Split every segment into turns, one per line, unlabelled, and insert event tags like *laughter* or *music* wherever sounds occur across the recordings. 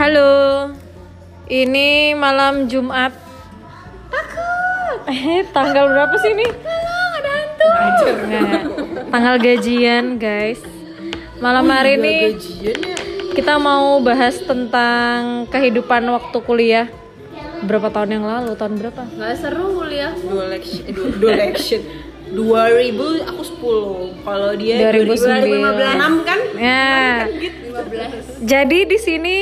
Halo, ini malam Jumat. Takut. Eh, tanggal berapa sih ini? ada hantu. Tanggal gajian, guys. Malam hari ini kita mau bahas tentang kehidupan waktu kuliah. Berapa tahun yang lalu? Tahun berapa?
Gak seru kuliah
dua election eh, dua, dua election 2000 aku 10 kalau dia
2009.
2015 kan
Ya.
15
Jadi di sini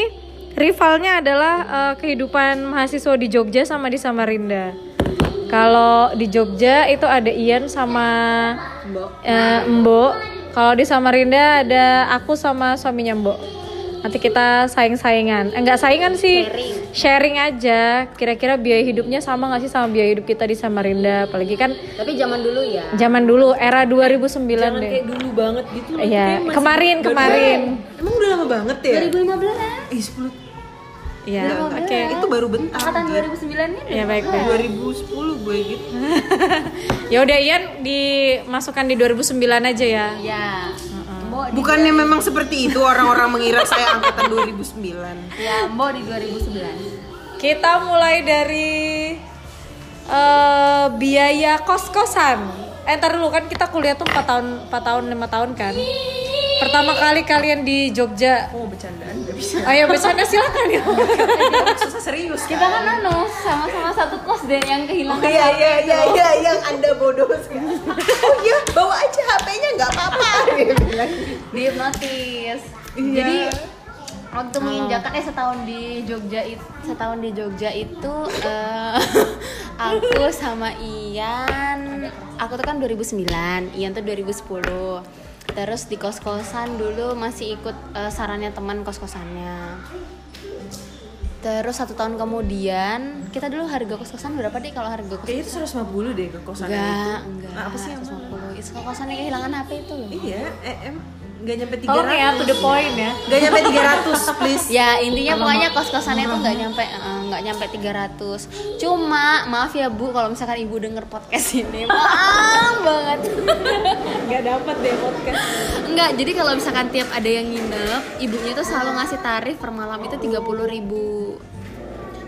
rivalnya adalah eh, kehidupan mahasiswa di Jogja sama di Samarinda. Kalau di Jogja itu ada Ian sama
Mbok.
eh, Mbok. Kalau di Samarinda ada aku sama suaminya Mbok. Nanti kita saing-saingan. Eh, Enggak saingan sih. Sharing. aja. Kira-kira biaya hidupnya sama nggak sih sama biaya hidup kita di Samarinda? Apalagi kan
Tapi zaman dulu ya
zaman dulu era 2009
Jangan
deh.
kayak dulu banget gitu loh.
Iya,
Kayak masih-
kemarin
baru-
kemarin.
Emang udah lama banget ya?
2015
Ih, 10
Iya, oke.
Itu baru bentar.
Angkatan
Jir.
2009 nih
Ya baik. *laughs*
2010 gue gitu.
ya udah Ian dimasukkan di 2009 aja ya
Ya Mbok di,
Bukannya memang seperti itu orang-orang mengira saya angkatan 2009.
ya, Mbok di 2011
kita mulai dari eh, biaya kos kosan eh ntar dulu kan kita kuliah tuh 4 tahun 4 tahun 5 tahun kan pertama kali kalian di Jogja
Oh, bercandaan gak bisa.
ayo bercanda silakan ya
Susah Iya, serius
Kita kan anu sama-sama satu kos deh yang
Oh
kehilangan
iya iya iya iya yang anda bodoh sekarang. Oh iya bawa aja HP-nya nggak apa-apa. Dia *laughs* bilang.
Oh, dihipnotis
Iya.
jadi waktu menginjakan eh setahun di Jogja itu setahun di Jogja itu *laughs* eh, aku sama Ian aku tuh kan 2009 Ian tuh 2010 terus di kos kosan dulu masih ikut eh, sarannya teman kos kosannya terus satu tahun kemudian kita dulu harga kos kosan berapa deh kalau harga kos
Kayaknya itu 150 deh ke kosan
enggak
itu.
enggak
Ah, apa sih yang
150 Is- kos kosannya kehilangan HP itu loh
Iya, eh, em nggak nyampe 300.
tolong ya to the point ya
Nggak nyampe *laughs* 300, please.
Ya intinya pokoknya kos-kosannya tuh nggak nyampe eh, nggak nyampe 300 Cuma maaf ya bu kalau misalkan ibu denger podcast ini maaf banget
Nggak dapat deh podcast.
Enggak jadi kalau misalkan tiap ada yang nginep ibunya tuh selalu ngasih tarif per malam itu 30.000 ribu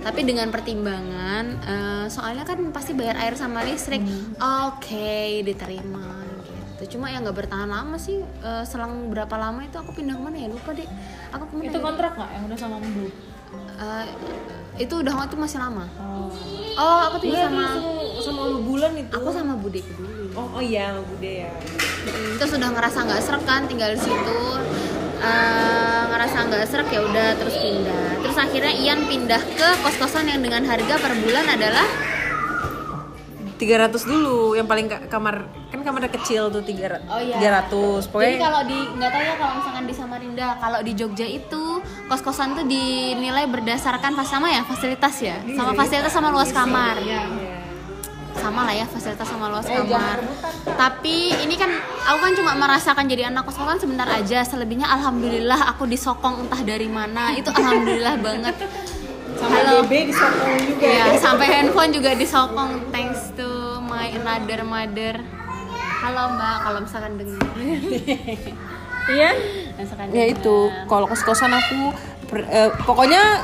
Tapi dengan pertimbangan eh, soalnya kan pasti bayar air sama listrik
Hmm.
Oke diterima gitu Cuma ya nggak bertahan lama sih Eh, selang berapa lama itu aku pindah kemana ya lupa deh Aku kemana
itu
ya?
kontrak nggak yang udah sama Mbu
Eh, itu udah itu masih lama
oh.
Oh, aku tuh
Iya,
sama
sama sama lu bulan itu.
aku sama Budek dulu.
Oh, oh iya, sama Bude ya.
Mm, Terus udah ngerasa nggak serek kan tinggal di situ. Eh, ngerasa nggak serek ya udah terus pindah. Terus akhirnya Ian pindah ke kos-kosan yang dengan harga per bulan adalah
300 dulu yang paling ka- kamar kan kamarnya kecil tuh 300.
Oh, iya.
300. Pokoknya
Jadi kalau di nggak tahu ya kalau misalkan di Samarinda, kalau di Jogja itu kos-kosan tuh dinilai berdasarkan pas sama ya fasilitas ya,
Iya,
sama fasilitas sama luas kamar. Sama lah ya fasilitas sama luas
Eh,
kamar. Tapi ini kan aku kan cuma merasakan jadi anak kos-kosan sebentar aja. Selebihnya alhamdulillah aku disokong entah dari mana. Itu alhamdulillah *laughs* banget.
sama DB di Sokong juga.
Ya, sampai handphone juga disokong thanks to my another mother. Halo Mbak, kalau misalkan dengar.
Ian
misalkan
ya itu kalau kos kosan aku per- eh, pokoknya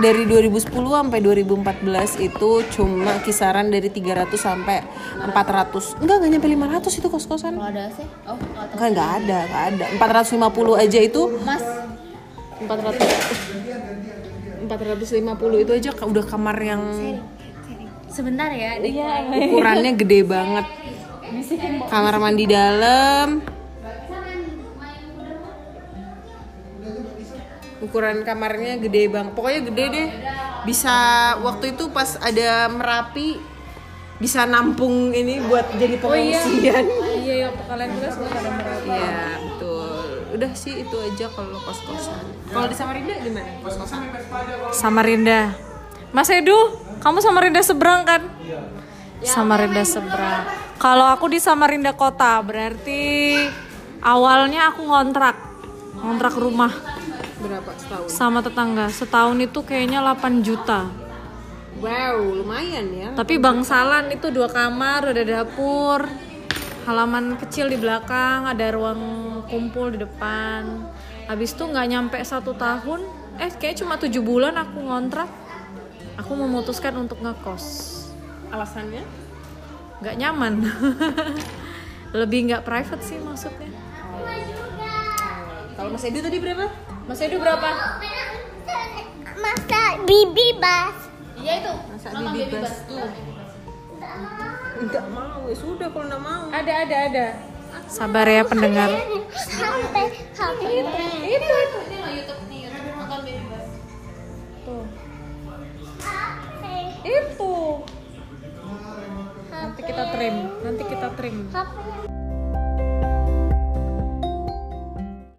dari 2010 sampai 2014 itu cuma kisaran dari 300 sampai 400 enggak enggak nyampe 500 itu kos kosan
Kalau ada sih? Oh, kalau tahu.
kan nggak ada nggak ada 450 aja itu
Mas,
400 450 itu aja ka- udah kamar yang
sebentar ya. Dek.
ukurannya gede banget kamar mandi dalam ukuran kamarnya gede bang pokoknya gede deh bisa waktu itu pas ada merapi bisa nampung ini buat jadi pengungsian
iya ya kalian juga sudah ada merah.
iya betul udah sih itu aja kalau kos kosan kalau di Samarinda gimana kos kosan
Samarinda. Mas Edu, kamu Samarinda seberang kan? Samarinda seberang. Kalau aku di Samarinda kota, berarti awalnya aku ngontrak. Ngontrak rumah
berapa setahun
sama tetangga. Setahun itu kayaknya 8 juta.
wow lumayan ya
Tapi bangsalan itu dua kamar, ada dapur, halaman kecil di belakang, ada ruang kumpul di depan. Habis itu nggak nyampe satu tahun, eh kayak cuma tujuh bulan aku ngontrak aku memutuskan untuk ngekos
Alasannya?
nggak nyaman *laughs* lebih nggak private sih maksudnya
Kalau Mas Edu tadi berapa? Mas Edu berapa?
Masa bibi bas.
Iya itu.
Masa
nonton
bibi bas Iya.
Baby Bus.
tuh. Enggak mau, ya sudah kalau enggak mau.
ada ada ada sabar ya pendengar
Sampai HP.
Itu itu. Ini loh YouTube nih YouTube nonton Baby Bus.
itu nanti kita trim nanti kita trim
HP.